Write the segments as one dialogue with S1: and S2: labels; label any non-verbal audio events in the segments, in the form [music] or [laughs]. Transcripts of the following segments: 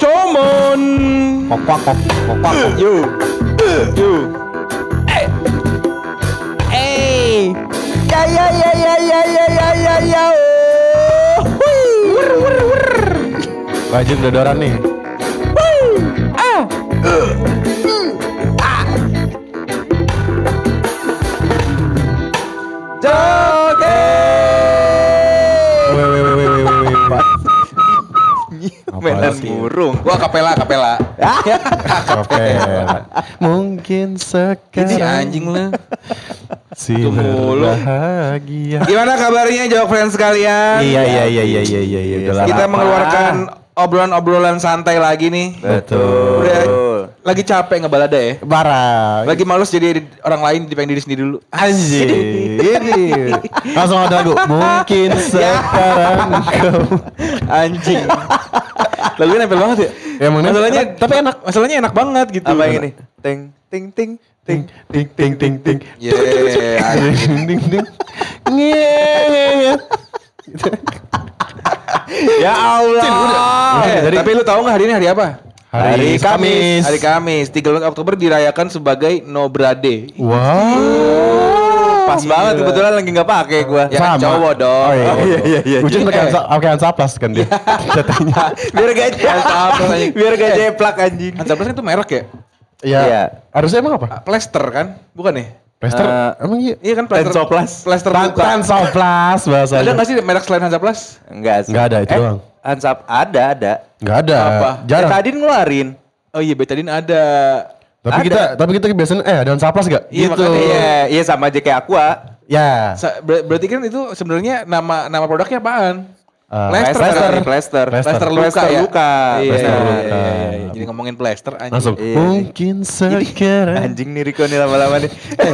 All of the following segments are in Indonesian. S1: Comon.
S2: Kokwak kok kokwak kok.
S1: Yo. Yo. Eh. Eh. Ya ya ya ya ya ya ya ya ya. oh. Hui. Wur, wur, wur.
S2: Wajib dodoran nih.
S1: Hui. Ah. Eh. Hmm. Ah. Joget.
S2: Wih wih wih wih wih, wih.
S3: Mainan
S2: sih?
S3: burung. Gua kapela kapela.
S2: Oke. Mungkin
S3: Ini
S2: sekarang
S3: anjing lu.
S2: si
S3: Itu mulu.
S2: bahagia.
S3: Gimana kabarnya Jawab Friends sekalian?
S2: Iya iya iya iya iya iya iya. Udah
S3: Kita
S2: lama.
S3: mengeluarkan obrolan-obrolan santai lagi nih.
S2: Betul.
S3: Udah lagi capek ngebalada ya.
S2: Parah.
S3: Lagi males jadi orang lain dipengin diri sendiri dulu.
S2: Anjir. Langsung ada lagu. Mungkin
S3: Ya.
S2: sekarang kau.
S3: Anjing. [laughs] Lagunya nempel banget ya.
S2: Ya, emang nempel.
S3: masalahnya tapi enak, masalahnya enak banget gitu.
S4: Apa ini? Ting ting ting ting.
S2: Ting ting ting ting ting.
S3: Ye, Iya, anjing.
S2: [laughs] Ding ding ding. Nge nge nge.
S3: ya Allah.
S2: Udah,
S3: Eh,
S2: jadi-
S3: tapi lu tahu nggak hari ini hari apa?
S2: Hari Kamis.
S3: Hari Kamis, 13 Oktober dirayakan sebagai Nobrade.
S2: Wow.
S4: Pas banget kebetulan lagi nggak pakai gua.
S3: Ya kan cowok dong.
S2: Oh iya iya iya. iya.
S3: Jadi,
S2: Ujung
S3: eh.
S2: pakai ansa- pakai ansaplas kan dia. Jatuhnya.
S4: Biar gak
S3: Ansaplas anjing.
S4: Biar gak
S3: Eh.
S4: jeplak anjing.
S3: Hansaplas kan itu merek ya?
S2: Iya.
S4: Iya.
S2: Harusnya emang apa?
S3: Ah, Plaster kan? Bukan nih?
S2: Plaster.
S4: Eh,
S2: Emang iya.
S3: Iya kan plaster.
S4: Hansoplas.
S3: Plaster
S2: Tan-
S3: buka.
S2: Tansoplas bahasanya.
S3: Ada nggak sih merek selain Hansaplas?
S4: Enggak
S2: Nggak ada, itu doang.
S4: Hansap ada ada.
S2: Enggak ada.
S3: Apa?
S2: Jarang.
S4: Ya, tadi ngeluarin.
S3: Oh iya, Betadine ada.
S2: tapi
S4: ada.
S2: kita tapi kita biasanya eh ada ansaplas enggak?
S3: Iya,
S2: gitu.
S3: makanya.
S4: Iya, iya sama aja kayak aqua.
S2: Ya.
S3: Sa- ber- berarti kan itu sebenarnya nama nama produknya apaan?
S2: Ah,
S3: Plaster.
S4: Plaster,
S3: kan?
S4: plaster.
S2: Plaster.
S3: Plaster luka
S4: Plaster
S3: ya?
S4: luka.
S3: Iya,
S2: Plaster
S3: iya,
S2: luka.
S3: iya, iya, iya. Jadi ngomongin plaster anjing.
S2: Langsung
S4: Iya, iya.
S2: mungkin sekarang.
S4: Anjing nih Riko nih lama-lama nih. [laughs]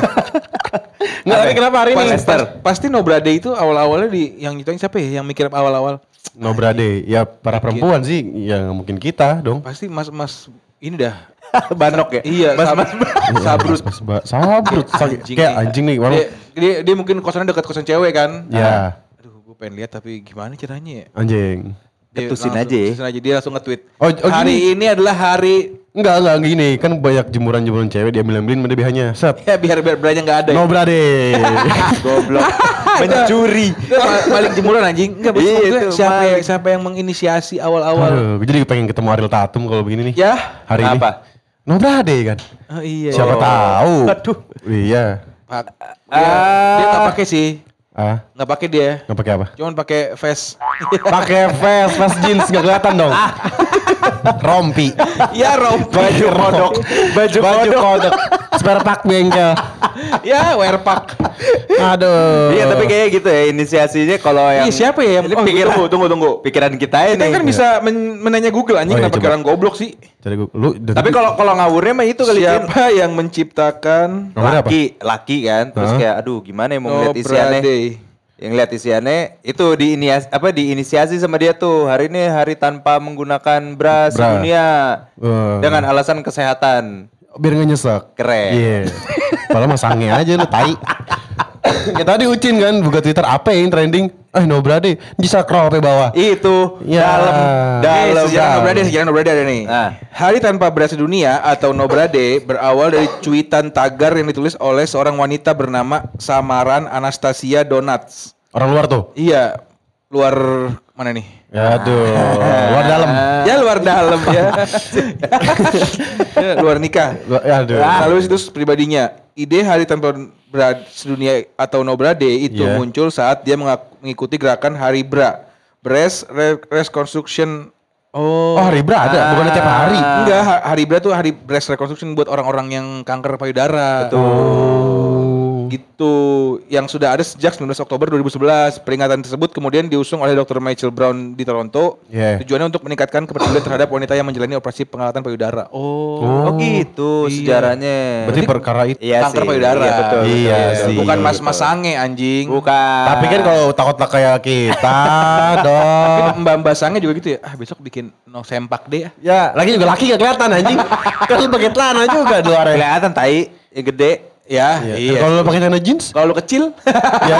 S2: Nggak,
S3: Eh,
S2: tapi kenapa hari ini?
S3: Pas- pas- pasti Nobrade itu awal-awalnya di yang nyetain siapa ya? Yang mikir awal-awal.
S2: Nobrade, ya para perempuan sih, ya nggak mungkin kita dong.
S3: Pasti Mas-mas ini dah.
S4: Banok ya?
S3: Iya,
S4: Mas,
S3: Sab-
S4: mas,
S3: [laughs] Sabrus.
S2: Pas ba- [laughs] Sabrut, sakit.
S3: Anjing
S2: kayak
S3: nih.
S2: anjing Iya. nih,
S3: Dia,
S2: warna.
S3: dia, dia mungkin kosannya dekat kosan cewek kan?
S2: Ya,
S3: Aduh, gue pengen lihat tapi gimana caranya ya?
S2: anjing.
S3: Dia
S4: Ketusin
S3: langsung-
S4: aja ya.
S3: ketusin aja. Dia langsung nge-tweet.
S2: Oh, oh,
S3: hari
S2: gini.
S3: ini adalah hari
S2: Enggak, enggak gini, kan banyak jemuran-jemuran cewek diambil-ambilin sama hanya Set.
S3: ya biar biar belanja nggak ada. ya.
S2: Nobrade. [laughs]
S4: Ah, goblok. Mencuri.
S3: [laughs] Itu pa- paling jemuran anjing. Enggak
S4: Iya,
S3: maksud gue
S4: itu,
S3: siapa
S4: Mike.
S3: yang, siapa yang menginisiasi awal-awal?
S2: Aduh, gue jadi pengen ketemu Ariel Tatum kalau begini nih.
S3: Ya.
S2: Hari ini.
S4: Kenapa?
S2: Nobrade kan.
S3: Oh, iya.
S2: Siapa
S3: iya.
S2: tahu.
S4: Aduh.
S2: Iya.
S3: Pak. Dia, dia nggak pakai sih.
S2: Ah,
S3: Nggak pakai dia.
S2: nggak pakai [laughs] apa?
S3: Cuman pakai face. [laughs]
S2: Pakai vest, vest jeans nggak kelihatan dong. Rompi.
S3: ya rompi.
S2: Baju kodok.
S4: Baju
S2: Baju
S4: kodok.
S2: kodok. Spare pak bengkel.
S3: ya wear pack.
S2: Aduh.
S4: Iya tapi kayaknya gitu ya inisiasinya kalau
S3: Ih,
S4: yang
S3: siapa ya yang-
S4: Ini
S3: Oh,
S4: pikiran,
S3: tunggu, tunggu, tunggu.
S4: Pikiran kita ini.
S3: Kita kan bisa men- menanya Google anjing
S2: Oh, iya,
S3: kenapa
S2: coba.
S3: kayak orang goblok sih?
S2: Jadi gue, lu,
S4: Tapi kalau kalau ngawurnya mah itu kali Jin.
S3: Siapa yang menciptakan
S2: Nomornya apa?
S4: laki laki kan terus
S2: Hah?
S4: kayak aduh
S3: Oh,
S4: gimana ya mau ngeliat isiannya
S3: Nobrade?
S4: yang lihat isiannya itu diinias apa diinisiasi sama dia tuh hari ini hari tanpa menggunakan bra,
S2: Bra.
S4: dunia
S2: Eh.
S4: dengan alasan kesehatan
S2: biar gak nyesek.
S4: Keren.
S2: Iya. Padahal masangnya aja lu [coughs] tai. ya tadi Ucin kan buka Twitter apa yang trending? Eh no brade, bisa crawl sampai bawah.
S4: itu
S2: Ya.
S4: dalam
S3: Eh,
S4: dalam Ya.
S3: sejarah Nobrade, sejarah Nobrade ada nih.
S4: Ah.
S3: Hari tanpa beras dunia atau Nobrade berawal dari cuitan tagar yang ditulis oleh seorang wanita bernama Samaran Anastasia Donuts.
S2: Orang luar tuh.
S3: Iya, luar mana nih?
S2: Ya, Aduh, [coughs] luar dalam.
S3: Ya luar dalam ya. Ya, [laughs] luar nikah.
S2: Lu- ya, Aduh.
S3: Lalu itu pribadinya, ide hari tanpa beras dunia atau Nobrade itu
S2: Iya.
S3: muncul saat dia mengaku- mengikuti gerakan Hari Bra. Breast Re- Reconstruction Oh,
S2: Oh, hari bra ada, bukan tiap hari.
S3: Enggak, ha- hari Bra tuh hari breast reconstruction buat orang-orang yang kanker payudara.
S2: Tuh.
S3: Gitu, yang sudah ada sejak 19 Oktober 2011. Peringatan tersebut kemudian diusung oleh Dr. Michael Brown di Toronto.
S2: Yeah.
S3: Tujuannya untuk meningkatkan kepedulian terhadap wanita yang menjalani operasi pengalatan payudara. Oh,
S4: oh
S3: Iya.
S4: gitu sejarahnya
S2: Berarti perkara itu.
S4: iya
S3: kanker
S4: sih.
S3: payudara.
S4: iya, betul,
S2: Iya
S4: betul,
S2: sih.
S3: Bukan
S2: Iya,
S3: mas-mas sange anjing.
S4: bukan
S2: Tapi kan kalau takut lah kayak [laughs] kita dong.
S3: Tapi mbak-mbak sange juga gitu ya. Ah, besok bikin no sempak deh ya.
S2: Ya, lagi juga laki gak kelihatan anjing. kan lu pakai celana juga di luar ya.
S4: kelihatan tai yang gede
S3: Ya, iya.
S2: Kalau lu pakai celana jeans,
S3: Kalau lu kecil, [laughs]
S2: ya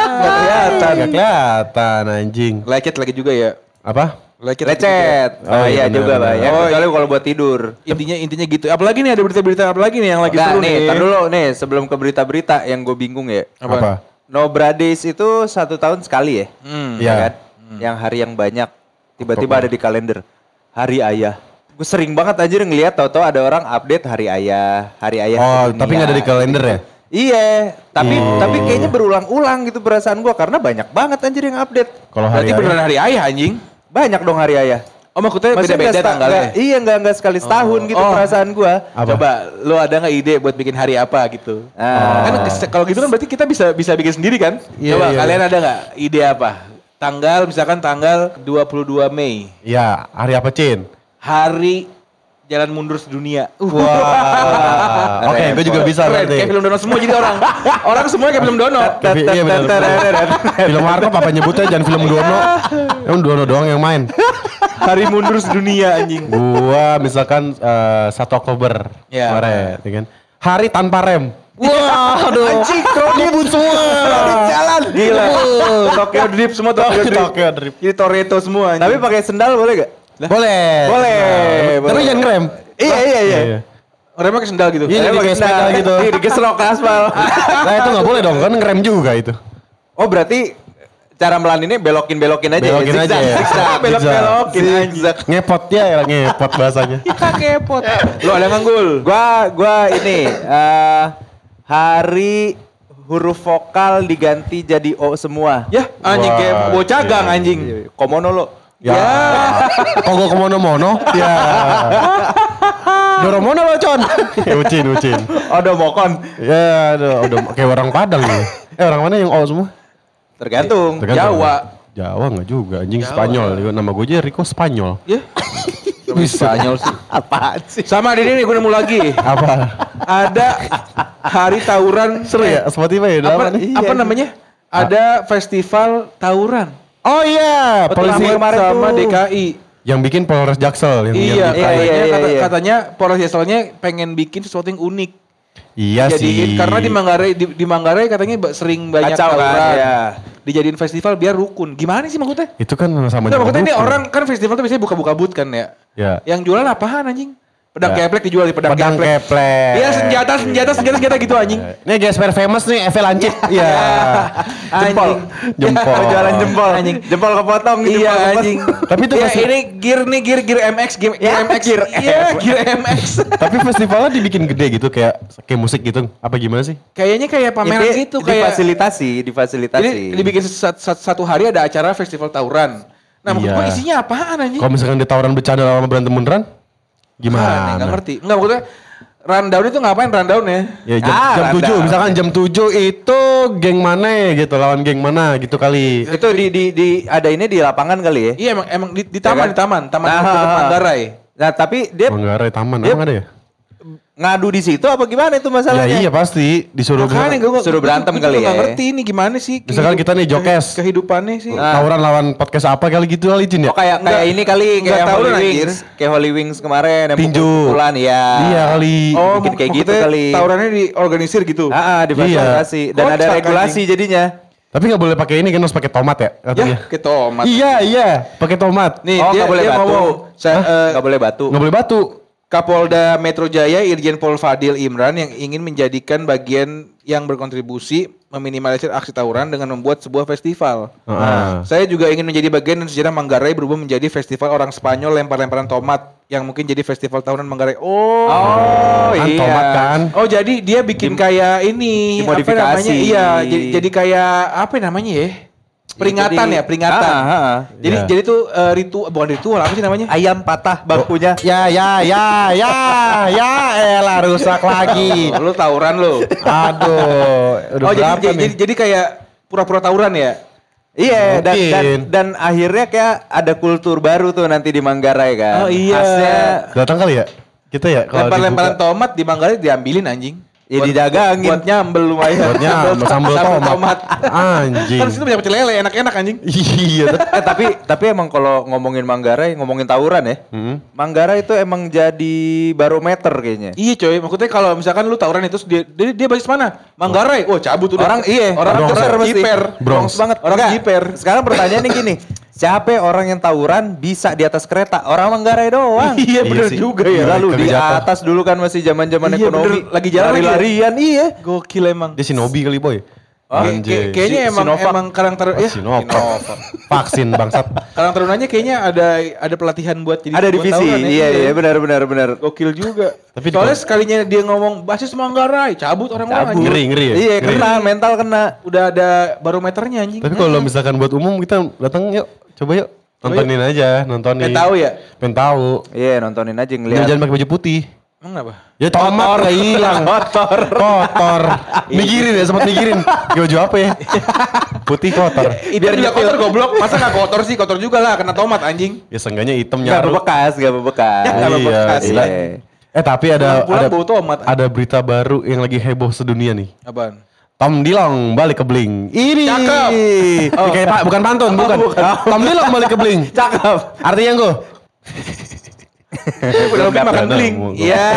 S3: nggak kelihatan.
S2: gak kelihatan anjing.
S3: Lecet lagi juga ya.
S2: Apa?
S3: Lecet.
S4: Lecet.
S2: Oh,
S4: Oh,
S2: iya,
S4: iya juga,
S2: benar,
S4: Pak. Ya,
S3: benar.
S4: kecuali kalau buat tidur.
S3: Intinya intinya gitu. Apalagi nih ada berita-berita apalagi nih yang lagi
S4: Nggak,
S3: seru
S4: nih,
S3: nih.
S4: tar dulu nih sebelum ke berita-berita yang gue bingung ya.
S3: Apa?
S2: Apa?
S4: Nobra Days itu satu tahun sekali ya,
S3: Hmm.
S2: Iya.
S4: kan? Yang hari yang banyak tiba-tiba ada di kalender Hari Ayah. Gue sering banget aja ngeliat tau-tau ada orang update Hari Ayah, Hari
S3: Iya,
S4: Ayah.
S2: Oh,
S4: sedunia.
S2: tapi nggak ada di kalender ya?
S4: Iya, tapi
S3: Oh.
S4: tapi kayaknya berulang-ulang gitu perasaan gua karena banyak banget anjir yang update.
S2: Kalau hari
S3: Berarti beneran hari ayah anjing.
S4: Banyak dong hari ayah.
S3: Oh maksudnya
S4: Maksudnya
S3: beda-beda
S4: nggak sta-
S3: tanggalnya.
S4: nggak- Iya, enggak enggak sekali setahun gitu
S3: Oh.
S4: perasaan gua.
S2: Apa?
S3: Coba lu ada nggak ide buat bikin hari apa gitu?
S4: Ah.
S3: Kan kes- kalau gitu kan berarti kita bisa bisa bikin sendiri kan?
S2: Iya,
S3: Coba
S2: iya.
S3: kalian ada nggak ide apa? Tanggal misalkan tanggal 22 Mei.
S2: Iya, hari apa, Cin?
S3: Hari jalan mundur sedunia. Uh. [laughs]
S2: Wah. Oke, gue juga bisa
S3: Keren,
S2: nanti.
S3: kayak film dono semua jadi [laughs] orang. orang semua kayak film dono.
S2: Tapi- iya benar. Film Marco apa nyebutnya jangan film
S3: [laughs]
S2: Dono. Emang Dono doang yang main.
S3: Hari mundur sedunia anjing.
S2: Gua misalkan eh, 1 Oktober
S3: Iya.
S2: kemarin, ya kan. Hari tanpa rem.
S3: Wah, aduh. Anjing,
S2: Ribut semua.
S3: jalan. Gila. Tokyo Drift semua Tokyo Drift.
S2: Tokyo Drift.
S3: Jadi Toretto semua anjing.
S4: Tapi pakai sendal boleh gak?
S2: Boleh.
S3: Boleh,
S2: Nah, Tapi
S3: boleh.
S2: jangan ngerem.
S4: Iya, iya, iya.
S3: remnya ke sendal gitu.
S2: Iya, jadi
S3: Remnya
S2: kayak
S3: pakai sendal.
S2: sepeda gitu.
S4: [laughs] Iya, digesrok ke aspal.
S2: Nah, itu nggak boleh dong, kan ngerem juga itu.
S4: [laughs] Oh, berarti cara melaninnya belokin-belokin aja. ya,
S2: Belokin aja
S4: zigzag,
S2: ya.
S4: Zigzag, belok-belokin zigzag.
S2: Ngepot ya, ya, ngepot bahasanya.
S3: Lu ada nganggul.
S4: Gua gua ini eh hari huruf vokal diganti jadi o semua.
S3: Ya, anjing
S2: Wah,
S3: kayak bocah
S2: iya,
S3: gang anjing.
S4: Komono lo.
S2: Ya. Kok gue kemono-mono? Ya. Doromono lo, Con. Ya, ucin, ucin.
S4: Odo mokon.
S2: Ya, aduh, udah kayak orang Padang nih. Eh, orang mana yang O semua?
S4: Tergantung.
S2: Tergantung.
S3: Jawa.
S2: Jawa nggak juga, anjing Spanyol. Nama gue aja Rico Spanyol.
S3: Ya.
S2: Spanyol sih.
S4: Apaan sih?
S3: Sama di nih gue nemu lagi.
S2: Apa?
S3: Ada hari tawuran Eh,
S2: Seru ya, Spotify ya, udah
S3: Apa,
S2: apa nih?
S3: apa namanya? Ada festival tawuran.
S2: Oh iya, polisi
S3: Sama-
S4: kemarin
S3: sama
S4: tuh.
S3: DKI.
S2: yang bikin Polres
S3: Iya,
S2: Jaksel yang yang-
S4: iya,
S3: katanya,
S4: iya,
S3: kata-
S4: iya.
S3: katanya Polres Jaselnya pengen bikin sesuatu yang unik.
S2: iya
S3: Jadi
S2: sih.
S3: karena di Manggarai di, di Manggarai katanya ba- sering banyak
S4: Kacau kan,
S3: tawuran.
S4: iya.
S3: Dijadiin festival biar rukun. Gimana sih maksudnya?
S2: itu kan sama
S3: Nah, maksudnya ini orang kan festival tuh biasanya buka-buka but kan ya.
S2: Ya.
S3: Yang jualan apaan anjing? Pedang
S2: Ya.
S3: keplek dijual di pedang,
S2: Pedang keplek.
S3: Iya senjata, senjata, senjata, senjata gitu anjing.
S2: [laughs] Ini gesper famous nih, Evel Lancip.
S3: [laughs]
S2: Iya.
S4: Jempol.
S2: [laughs]
S4: [laughs]
S2: Jempol.
S4: Jalan jempol. Anjing. Jempol kepotong.
S3: Iya
S4: jempol kepotong.
S3: anjing.
S2: Tapi itu
S3: ya,
S2: masih-
S3: ini gear nih gear gear MX gear, gear
S4: Ya,
S3: MX
S4: gear
S3: Iya, gear MX.
S2: Tapi festivalnya dibikin gede gitu kayak kayak musik gitu. Apa gimana sih?
S3: Kayaknya kayak pameran
S4: Ini
S3: gitu kayak
S4: difasilitasi, difasilitasi.
S3: Jadi dibikin sat- sat- satu hari ada acara festival tawuran. Nah, maksud
S2: Iya.
S3: gua isinya apaan anjing?
S2: Kalau misalkan di tawuran bercanda lama berantem beneran
S3: Apaan,
S2: gimana?
S3: Ah,
S4: Nah.
S3: Nggak ngerti. Enggak maksudnya rundown itu ngapain rundown ya?
S2: Ya jam,
S4: Ah,
S2: jam
S4: rada.
S2: 7 misalkan jam 7 itu geng mana gitu lawan geng mana gitu kali.
S4: Iya. itu di di di ada ini di lapangan kali ya.
S3: Iya emang emang di, di taman
S4: kan?
S3: di taman taman
S4: Nah,
S3: dekat Manggarai.
S4: Nah, tapi dia
S2: Manggarai taman
S4: Yep.
S2: emang ada ya?
S4: ngadu di situ apa gimana itu
S2: Ya
S4: masalahnya?
S2: iya pasti disuruh
S3: Makanya
S2: bener-
S3: gua
S4: Suruh berantem
S3: gua juga
S4: kali
S3: nggak
S4: ya.
S3: ngerti ini gimana sih?
S2: Misalkan
S3: kehidup-
S2: kita nih jokes.
S3: kehi- kehidupannya sih. Oh,
S4: Nah.
S2: tawuran lawan podcast apa kali gitu kali Jin ya?
S4: Oh kayak kayak
S3: Nggak-
S4: ini kali
S3: nggak
S4: kayak
S3: tahu
S4: Holy
S3: lah, anjir.
S4: Wings, kayak Holy Wings kemarin yang
S2: Tinju.
S4: pukul-pukulan ya.
S2: Iya kali.
S4: Oh, mungkin kayak gitu
S3: maksudnya
S4: kali. Ah,
S3: Tawurannya diorganisir gitu.
S4: Heeh, difasilitasi
S3: Iya.
S4: dan ada
S3: Kocak,
S4: regulasi jadinya.
S2: Tapi nggak boleh pakai ini kan harus pakai tomat ya katanya.
S3: ya, ke tomat.
S2: Iya iya, pakai tomat.
S3: Nih,
S4: Oh,
S3: dia,
S4: nggak boleh
S3: dia
S4: batu.
S3: ngomong, saya, eh,
S4: Enggak boleh batu.
S2: Nggak boleh batu.
S3: Kapolda Metro Jaya Irjen Pol Fadil Imran yang ingin menjadikan bagian yang berkontribusi meminimalisir aksi tawuran dengan membuat sebuah festival.
S4: Ah.
S3: Nah,
S2: Heeh.
S3: Saya juga ingin menjadi bagian dan sejarah Manggarai berubah menjadi festival orang Spanyol lempar-lemparan tomat yang mungkin jadi festival tahunan Manggarai. Oh.
S4: Oh,
S2: kan
S4: iya.
S2: tomat kan.
S3: Oh jadi dia bikin kayak ini apa
S4: dimodifikasi.
S3: namanya? Iya, jadi, jadi kayak apa namanya ya? Peringatan
S4: jadi-
S3: ya, peringatan.
S4: Ah, ah, ah.
S3: Jadi
S2: Iya.
S3: jadi tuh eh, ritu bukan ritual apa sih namanya?
S4: Ayam patah bangkunya.
S2: Ya ya ya ya ya elah rusak lagi.
S3: Oh, [laughs] lu tawuran lu.
S2: Aduh, udah
S3: oh jadi,
S2: berapa
S3: jadi,
S2: nih?
S3: jadi jadi kayak pura-pura tawuran ya?
S4: Iya dan, dan
S2: Mungkin.
S4: dan akhirnya kayak ada kultur baru tuh nanti di Manggarai kan.
S3: Oh, iya.
S4: Khasnya
S2: Datang kali ya? Kita ya kalau Iya,
S3: Lempar-lemparan
S2: dibuka.
S3: tomat di Manggarai diambilin anjing.
S4: Ya,
S3: Buat-
S4: didagangin.
S3: Buat nyambel lumayan.
S2: Buatnya sama sambal tomat. Anjing.
S3: Kan situ banyak pecel lele enak-enak anjing.
S2: Iya. tet-
S4: [laughs] eh, tapi tapi emang kalau ngomongin Manggarai, ngomongin tawuran ya.
S2: Hmm.
S4: Manggarai itu emang jadi barometer kayaknya.
S3: Iya coy, maksudnya kalau misalkan lu tawuran itu dia dia, dia basis mana? Manggarai. Wah, cabut udah.
S4: Orang iya,
S3: orang
S2: Bronx
S3: besar
S2: ya?
S3: pasti.
S4: jiper.
S2: Bronx.
S4: banget.
S3: Orang
S4: Nggak,
S3: jiper. [laughs]
S4: Sekarang pertanyaannya gini, Siapa orang yang tawuran bisa di atas kereta? Orang Manggarai doang.
S3: Iya bener
S2: sih.
S3: juga ya.
S2: Iya,
S4: Lalu
S2: kagak
S4: di
S2: jatuh.
S4: atas dulu kan masih zaman-zaman
S3: Iya,
S4: ekonomi.
S3: bener. Lagi jalan lagi ya?
S4: larian iya.
S3: Gokil emang.
S2: Dia Shinobi kali boy.
S3: Oh,
S2: Anjay. Oh,
S3: kayak- kayaknya
S4: Si-
S3: emang
S4: Sinovac.
S3: emang karang taruna ya.
S2: Sinovac.
S3: Sinovac.
S2: Vaksin bangsat.
S3: Karang tarunanya kayaknya ada ada pelatihan buat jadi
S4: Ada
S3: buat
S4: divisi.
S3: tahunan ya.
S4: Iya iya benar benar benar.
S3: Gokil juga.
S2: [laughs] Tapi di-
S3: Soalnya sekalinya dia ngomong basis Manggarai, cabut orang-orang
S2: Ngeri
S3: anjing.
S2: ngeri ya.
S4: Iya
S2: Ngeri.
S4: kena mental kena.
S3: Udah ada barometernya anjing.
S2: Tapi kalau misalkan buat umum kita datang yuk coba yuk nontonin aja nontonin.
S3: Oh, iya. Pengen tahu ya?
S2: Pengen tahu.
S4: Iya nontonin aja
S2: Jangan
S4: ngeliat.
S2: jangan pakai baju putih.
S3: Emang kenapa?
S2: Ya tomat gak hilang. Kotor.
S3: [laughs]
S2: Kotor.
S3: Iya.
S2: Mikirin ya, sempat mikirin. Gak baju apa ya? Putih kotor.
S3: Eh, Biar juga kotor goblok, masa gak kotor sih? Kotor juga lah, kena tomat anjing.
S2: Ya seenggaknya hitam
S4: Gak
S2: nyaru.
S4: berbekas, gak berbekas.
S3: Nggak berbekas,
S4: Iya.
S2: gila. Eh tapi ada
S3: Pulang-pulang
S2: ada,
S3: bau tomat.
S2: ada berita baru yang lagi heboh sedunia nih.
S3: Apaan?
S2: Tom Dilong balik ke Bling. Ini.
S3: Cakep.
S2: Oh. Kayak Pak, bukan pantun,
S3: [laughs]
S2: bukan. Tom Dilong balik ke Bling.
S4: Cakep.
S2: Artinya gue.
S3: Udah lebih makan
S2: Belum
S3: bling.
S2: dapet.
S3: Iya.
S2: Ah,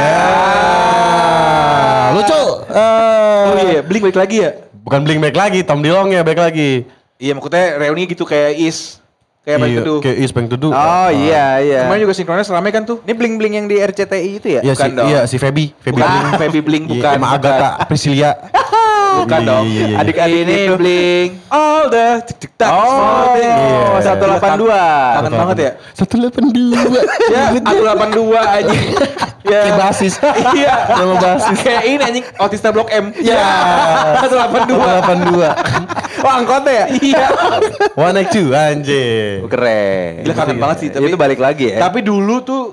S3: Ah.
S2: lucu. Eh,
S3: Oh iya, bling balik lagi ya?
S2: Bukan Bling back lagi, Tom Dilong ya back lagi.
S3: Iya maksudnya reuni gitu kayak is. Kayak apa gitu.
S2: Iya,
S3: itu tuh.
S2: Kayak Is Bang Tudu.
S4: Oh iya iya.
S3: Kemarin juga sinkronis rame kan tuh.
S4: Ini bling-bling yang di RCTI itu ya?
S2: Iya si,
S3: bukan dong.
S2: iya si Feby, Feby
S3: Bukan,
S2: Bling.
S3: Feby Bling,
S2: Iya,
S3: bukan,
S2: Sama
S3: bukan.
S2: Agatha Priscilia.
S3: [laughs] Bukan
S2: Iya,
S3: dong.
S2: iya, iya, iya.
S4: Adik-adik
S3: ini
S4: itu.
S3: bling.
S4: All the tik tak
S3: Oh,
S2: iya.
S4: 182.
S3: Kangen banget ya?
S2: Satu delapan
S3: [laughs]
S2: dua.
S3: Ya, aku 82 anjing. Ya.
S2: Kayak
S3: [laughs]
S2: basis.
S3: Iya.
S2: Nama basis.
S3: Kayak ini anjing Otista Blok M.
S2: Ya.
S3: 182.
S2: Delapan [laughs] dua.
S4: Oh, angkotnya ya?
S3: Iya.
S2: One Night Two, anjir.
S3: Gila
S4: Keren.
S2: iya,
S3: kangen banget sih, tapi
S4: itu balik lagi ya.
S3: Tapi dulu tuh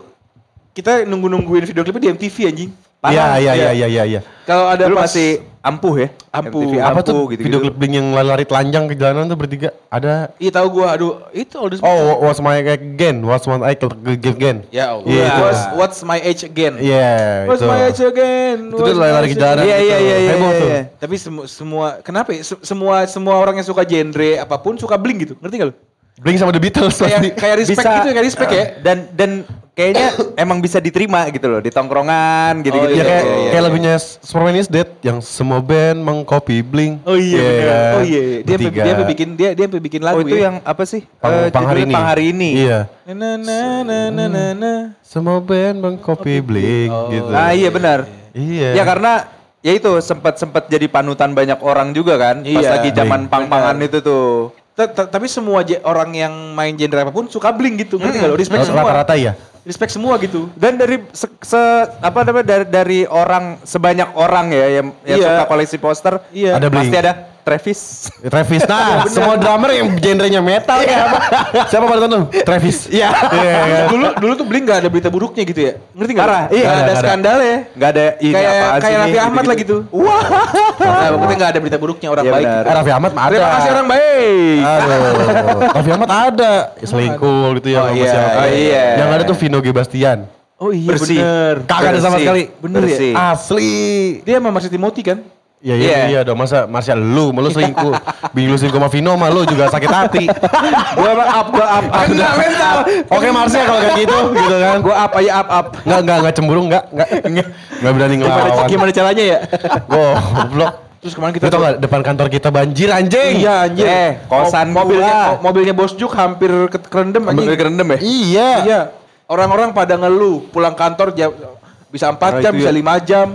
S3: kita nunggu-nungguin video klipnya di MTV anjing.
S2: Iya, iya, iya, iya, iya, iya.
S3: Kalau ada
S4: dulu
S3: pas-
S4: masih ampuh ya.
S3: Ampuh.
S4: MTV
S2: Apa
S4: ampuh
S2: tuh
S4: gitu-gitu.
S2: video klip Bling yang lari telanjang ke jalanan tuh bertiga? Ada
S3: Iya tahu gua, aduh, itu all this
S2: Oh, wha- what's my age again? What's my age again?
S3: Ya Allah.
S2: Iya, itu.
S3: What's, what's my age again?
S2: Iya,
S3: What's
S2: itu.
S3: my age again?
S2: Itu tuh lari-lari ke jalanan.
S4: Iya,
S2: gitu.
S4: iya, iya, iya,
S2: Heboh
S4: iya,
S2: tuh.
S4: iya.
S3: Tapi semu- semua kenapa ya? Se- semua semua orang yang suka genre apapun suka bling gitu. Ngerti gak lu?
S2: Blink sama The Beatles
S3: Kayak
S2: pasti.
S3: kayak respect
S4: Bisa-
S3: gitu ya, kayak respect ya.
S4: Dan dan kayaknya emang bisa diterima gitu loh di tongkrongan
S3: Oh,
S4: gitu-gitu.
S2: Ya
S3: iya,
S2: kayak
S3: iya,
S2: kayak lagunya Superman is Dead yang semua band mengcopy Blink.
S3: Oh iya,
S2: Iya
S3: bener.
S2: kan?
S3: Oh iya, iya. dia sampai-
S2: Bertiga.
S3: dia sampai bikin dia dia sampai bikin lagu
S4: Oh, itu
S3: ya.
S4: yang apa sih?
S2: Pang,
S4: Eh,
S2: Pang hari
S4: judulnya
S2: ini.
S4: Pang hari ini.
S2: Iya.
S3: na na na na na na.
S2: Semua band mengcopy Blink
S3: Oh.
S2: gitu.
S4: Nah, iya benar.
S2: Iya.
S4: Ya karena ya itu sempat sempat jadi panutan banyak orang juga kan pas
S3: Iya.
S4: lagi zaman pang-pangan itu tuh.
S3: Ta- ta- Tapi semua je- orang yang main genre apapun suka bling gitu. Ngerti gak lu? Respect
S2: Rata-
S3: semua.
S2: rata-rata ya.
S3: Respect semua gitu.
S4: Dan dari se, se- apa namanya dari, dari orang sebanyak orang ya yang, yang
S3: Iya.
S4: suka koleksi poster,
S3: Iya.
S2: Ada
S4: pasti
S2: Blink.
S4: ada
S2: [laughs]
S4: Travis.
S2: Travis nah, semua drummer yang genrenya metal ya
S3: [laughs]
S2: apa? Siapa pada tonton? Travis. Iya. kan?
S3: Nah, dulu dulu tuh bling gak ada berita buruknya gitu ya. Ngerti gak? lu?
S4: Parah,
S3: Gak
S4: iya.
S2: Nggak
S3: ada
S2: ada.
S3: skandal ya.
S4: Gak ada ini
S3: kayak
S4: apaan
S3: kayak
S4: sih
S3: Raffi
S4: ini,
S3: Ahmad lah
S2: Iya.
S3: gitu. Wah. Nah, pokoknya nggak ada berita buruknya orang
S4: Iya,
S3: baik.
S4: benar.
S2: Eh, Raffi Ahmad mah ada.
S3: Terima kasih orang
S2: Iya,
S3: baik.
S2: Aduh, Raffi Ahmad ada Ya, selingkuh gitu ya
S4: Oh
S2: sama
S4: iya,
S2: siapa.
S4: oh iya.
S2: Yang ada tuh Vino G. Bastian.
S3: Oh iya
S4: Bersih.
S3: bener.
S2: Kagak ada sama
S4: Bersih.
S2: sekali. Ah.
S4: Bener ya?
S2: Bersih. Asli.
S3: Dia sama Marcia Timothy kan?
S2: Ya
S4: Iya.
S2: iya iya dong masa masa lu malu selingkuh. Bini lu selingkuh sama Vino mah lu juga sakit hati.
S4: Gue emang up, gue up, up.
S3: Kena mental.
S2: Oke Marsha kalau kayak gitu gitu kan.
S4: Gue up aja ya, up up.
S2: Enggak enggak enggak cemburu enggak enggak enggak berani
S3: Gimana,
S2: ngelawan.
S3: gimana caranya ya?
S2: Goblok.
S3: Terus kemarin kita
S2: Lu tau gak depan kantor kita banjir anjing?
S3: Iya anjir.
S4: Eh, kosan
S3: Mo- mobilnya
S4: gua.
S3: mo- mobilnya Bos Juk hampir ke- kerendem anjing.
S4: Bener kerendem ya.
S2: Iya.
S3: Iya. Orang-orang pada ngeluh pulang kantor jam bisa 4 jam,
S4: itu
S3: bisa
S4: ya.
S3: 5 jam.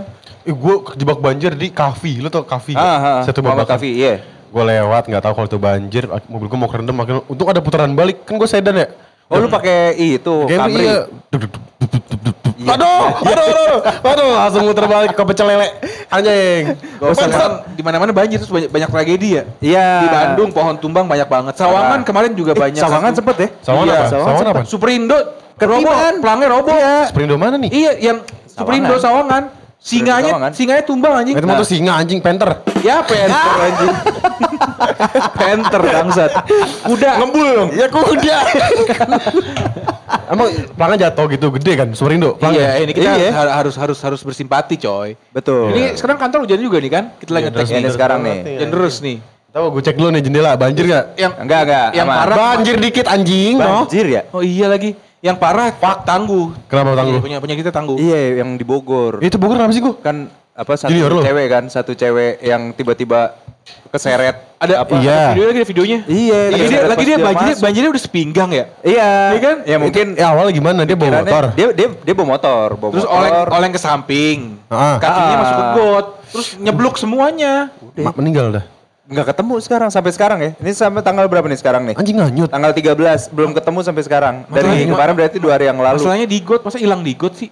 S2: Eh, gue kejebak banjir di kafe, lu tau kafe nggak?
S4: Ah, ah,
S2: [laughs] Satu kan?
S4: Muhammad
S2: babakan.
S4: Kafi, iya.
S2: Gue lewat nggak tahu kalau itu banjir, ak- mobil gue mau kerendam makin untung ada putaran balik kan gue sedan ya.
S4: Oh lu pakai itu
S2: Kayak
S4: Camry.
S2: iya. Duk, duk, duk, duk, duk, duk, duk. [laughs]
S4: Iya.
S2: Aduh, aduh, aduh, aduh, langsung muter balik ke pecel lele, anjing.
S3: Gak usah
S2: Bangsat.
S3: kan, di mana-mana banjir terus banyak, banyak tragedi ya.
S4: Iya.
S3: Di Bandung pohon tumbang banyak banget. Sawangan
S4: Parah.
S3: kemarin juga
S4: Eh,
S3: banyak.
S4: Sawangan
S3: Satu-
S4: sempet ya?
S2: Sawangan
S3: Iya,
S2: apa?
S4: Sawangan
S2: Sawangan apa?
S3: Superindo roboh,
S4: Ketiban.
S3: pelangnya roboh. Iya.
S2: Superindo mana nih?
S3: yang Superindo Sawangan. Singanya,
S4: Sawangan.
S3: singanya tumbang anjing. Nah,
S2: Itu mah tuh singa anjing penter.
S3: Ya penter
S4: [laughs]
S3: anjing. penter bangsat. Kuda. Iya,
S2: Ngembul dong. Ya kuda. Emang pelangnya jatuh gitu gede kan Superindo? pelangnya?
S3: Iya, ini kita
S4: Iya.
S3: har- harus harus harus bersimpati, coy.
S4: Betul.
S3: Ini sekarang kantor hujan juga nih kan? Kita lagi ngetek
S2: terus
S3: nih.
S4: ini sekarang Iya. nih.
S3: Hujan terus nih.
S2: Tahu gue cek dulu nih jendela banjir nggak?
S3: Yang
S4: Enggak enggak.
S3: Yang
S4: aman.
S3: parah.
S2: Banjir dikit anjing, no.
S4: Banjir ya?
S3: Oh iya lagi. Yang parah Pak Tangguh.
S2: Kenapa Tangguh?
S3: Iya, punya punya kita Tangguh.
S4: Iya yang di Bogor.
S2: Itu Bogor kenapa sih gue?
S4: kan apa satu
S2: Junior lu?
S4: cewek kan satu cewek yang tiba-tiba keseret.
S3: Ada apa? Ada
S2: Iya.
S3: video lagi ada videonya.
S4: Iya,
S3: Lagi dia, lagi
S4: keseret pas
S3: dia, banjirnya,
S4: masuk.
S3: banjirnya udah sepinggang ya.
S4: Iya.
S3: Iya kan?
S4: Ya mungkin
S2: Ya awal gimana dia bawa
S4: pikirannya
S2: motor.
S4: Dia dia dia bawa motor, bawa
S3: Terus
S4: motor.
S3: oleng oleng ke samping.
S2: Ah.
S3: Kakinya
S4: Ah.
S3: masuk ke got. Terus nyeblok semuanya.
S2: Ma- meninggal dah.
S4: nggak ketemu sekarang sampai sekarang ya. Ini sampai tanggal berapa nih sekarang nih?
S2: Anjing nganyut.
S4: Tanggal 13 belum ketemu sampai sekarang.
S3: Masalahnya-
S4: Dari kemarin berarti dua hari yang lalu.
S3: Masalahnya di got, masa hilang di got sih?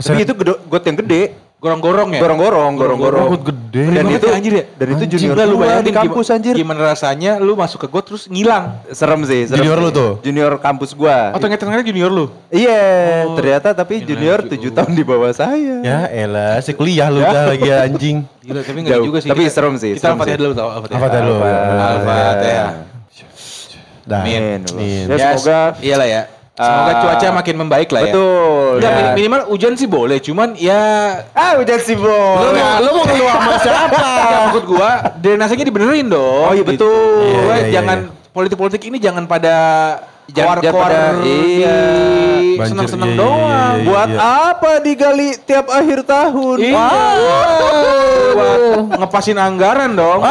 S4: Tapi itu gedo- got yang gede,
S3: Gorong-gorong ya?
S4: gorong-gorong, gorong-gorong.
S2: Got gede.
S4: Dan
S3: Banget
S4: itu
S3: ya, anjir ya?
S4: Dan itu
S2: Anjing
S4: junior
S3: Gila lu
S4: gua
S3: bayangin
S4: di kampus
S3: gimana-
S4: anjir. Nah,
S3: Gimana rasanya lu masuk ke got terus ngilang.
S4: Serem sih, serem
S2: Junior
S4: sih.
S2: lu tuh? Oh,
S4: Junior kampus gua.
S3: Atau ngeter-ngeter junior lu?
S4: Iya,
S3: Oh.
S4: ternyata tapi
S3: Ini
S4: junior
S3: lagi,
S4: 7
S3: oh.
S4: tahun di bawah saya.
S2: Ya elah, si kuliah lu dah lagi ya, anjing.
S3: Gila, tapi ngeri
S4: Jauh.
S3: juga sih.
S4: Tapi
S3: Kita-
S4: serem sih,
S3: Kita
S4: serem
S3: al-fatihah
S4: sih.
S3: dulu ya. tau. Al-Fatihah.
S2: Apa tadi lu? ya.
S3: Al-Fatihah.
S2: Dah.
S4: Amin.
S2: Amin.
S4: Ya, semoga
S3: iyalah ya. Semoga
S4: Ah.
S3: cuaca makin membaik lah ya.
S4: betul.
S3: Nggak,
S4: ya.
S3: min- minimal hujan sih boleh, cuman ya
S4: Ah, udah sih, Bo.
S2: Lu mau lu mau keluar
S3: [laughs]
S2: sama siapa?
S3: ya maksud gua drainasenya dibenerin dong.
S4: Oh, iya,
S3: Gitu.
S4: betul.
S2: Iya,
S3: Gua
S2: iya, iya,
S3: jangan politik-politik ini jangan pada
S4: Jangan- jangan
S3: keluar-keluar
S4: pada-
S3: di
S4: iya.
S2: Banjir,
S3: senang-senang
S2: iya, iya,
S3: doang.
S2: iya, iya.
S4: Buat apa digali tiap akhir tahun?
S3: Iya.
S4: [laughs]
S3: Buat [laughs] ngepasin anggaran dong.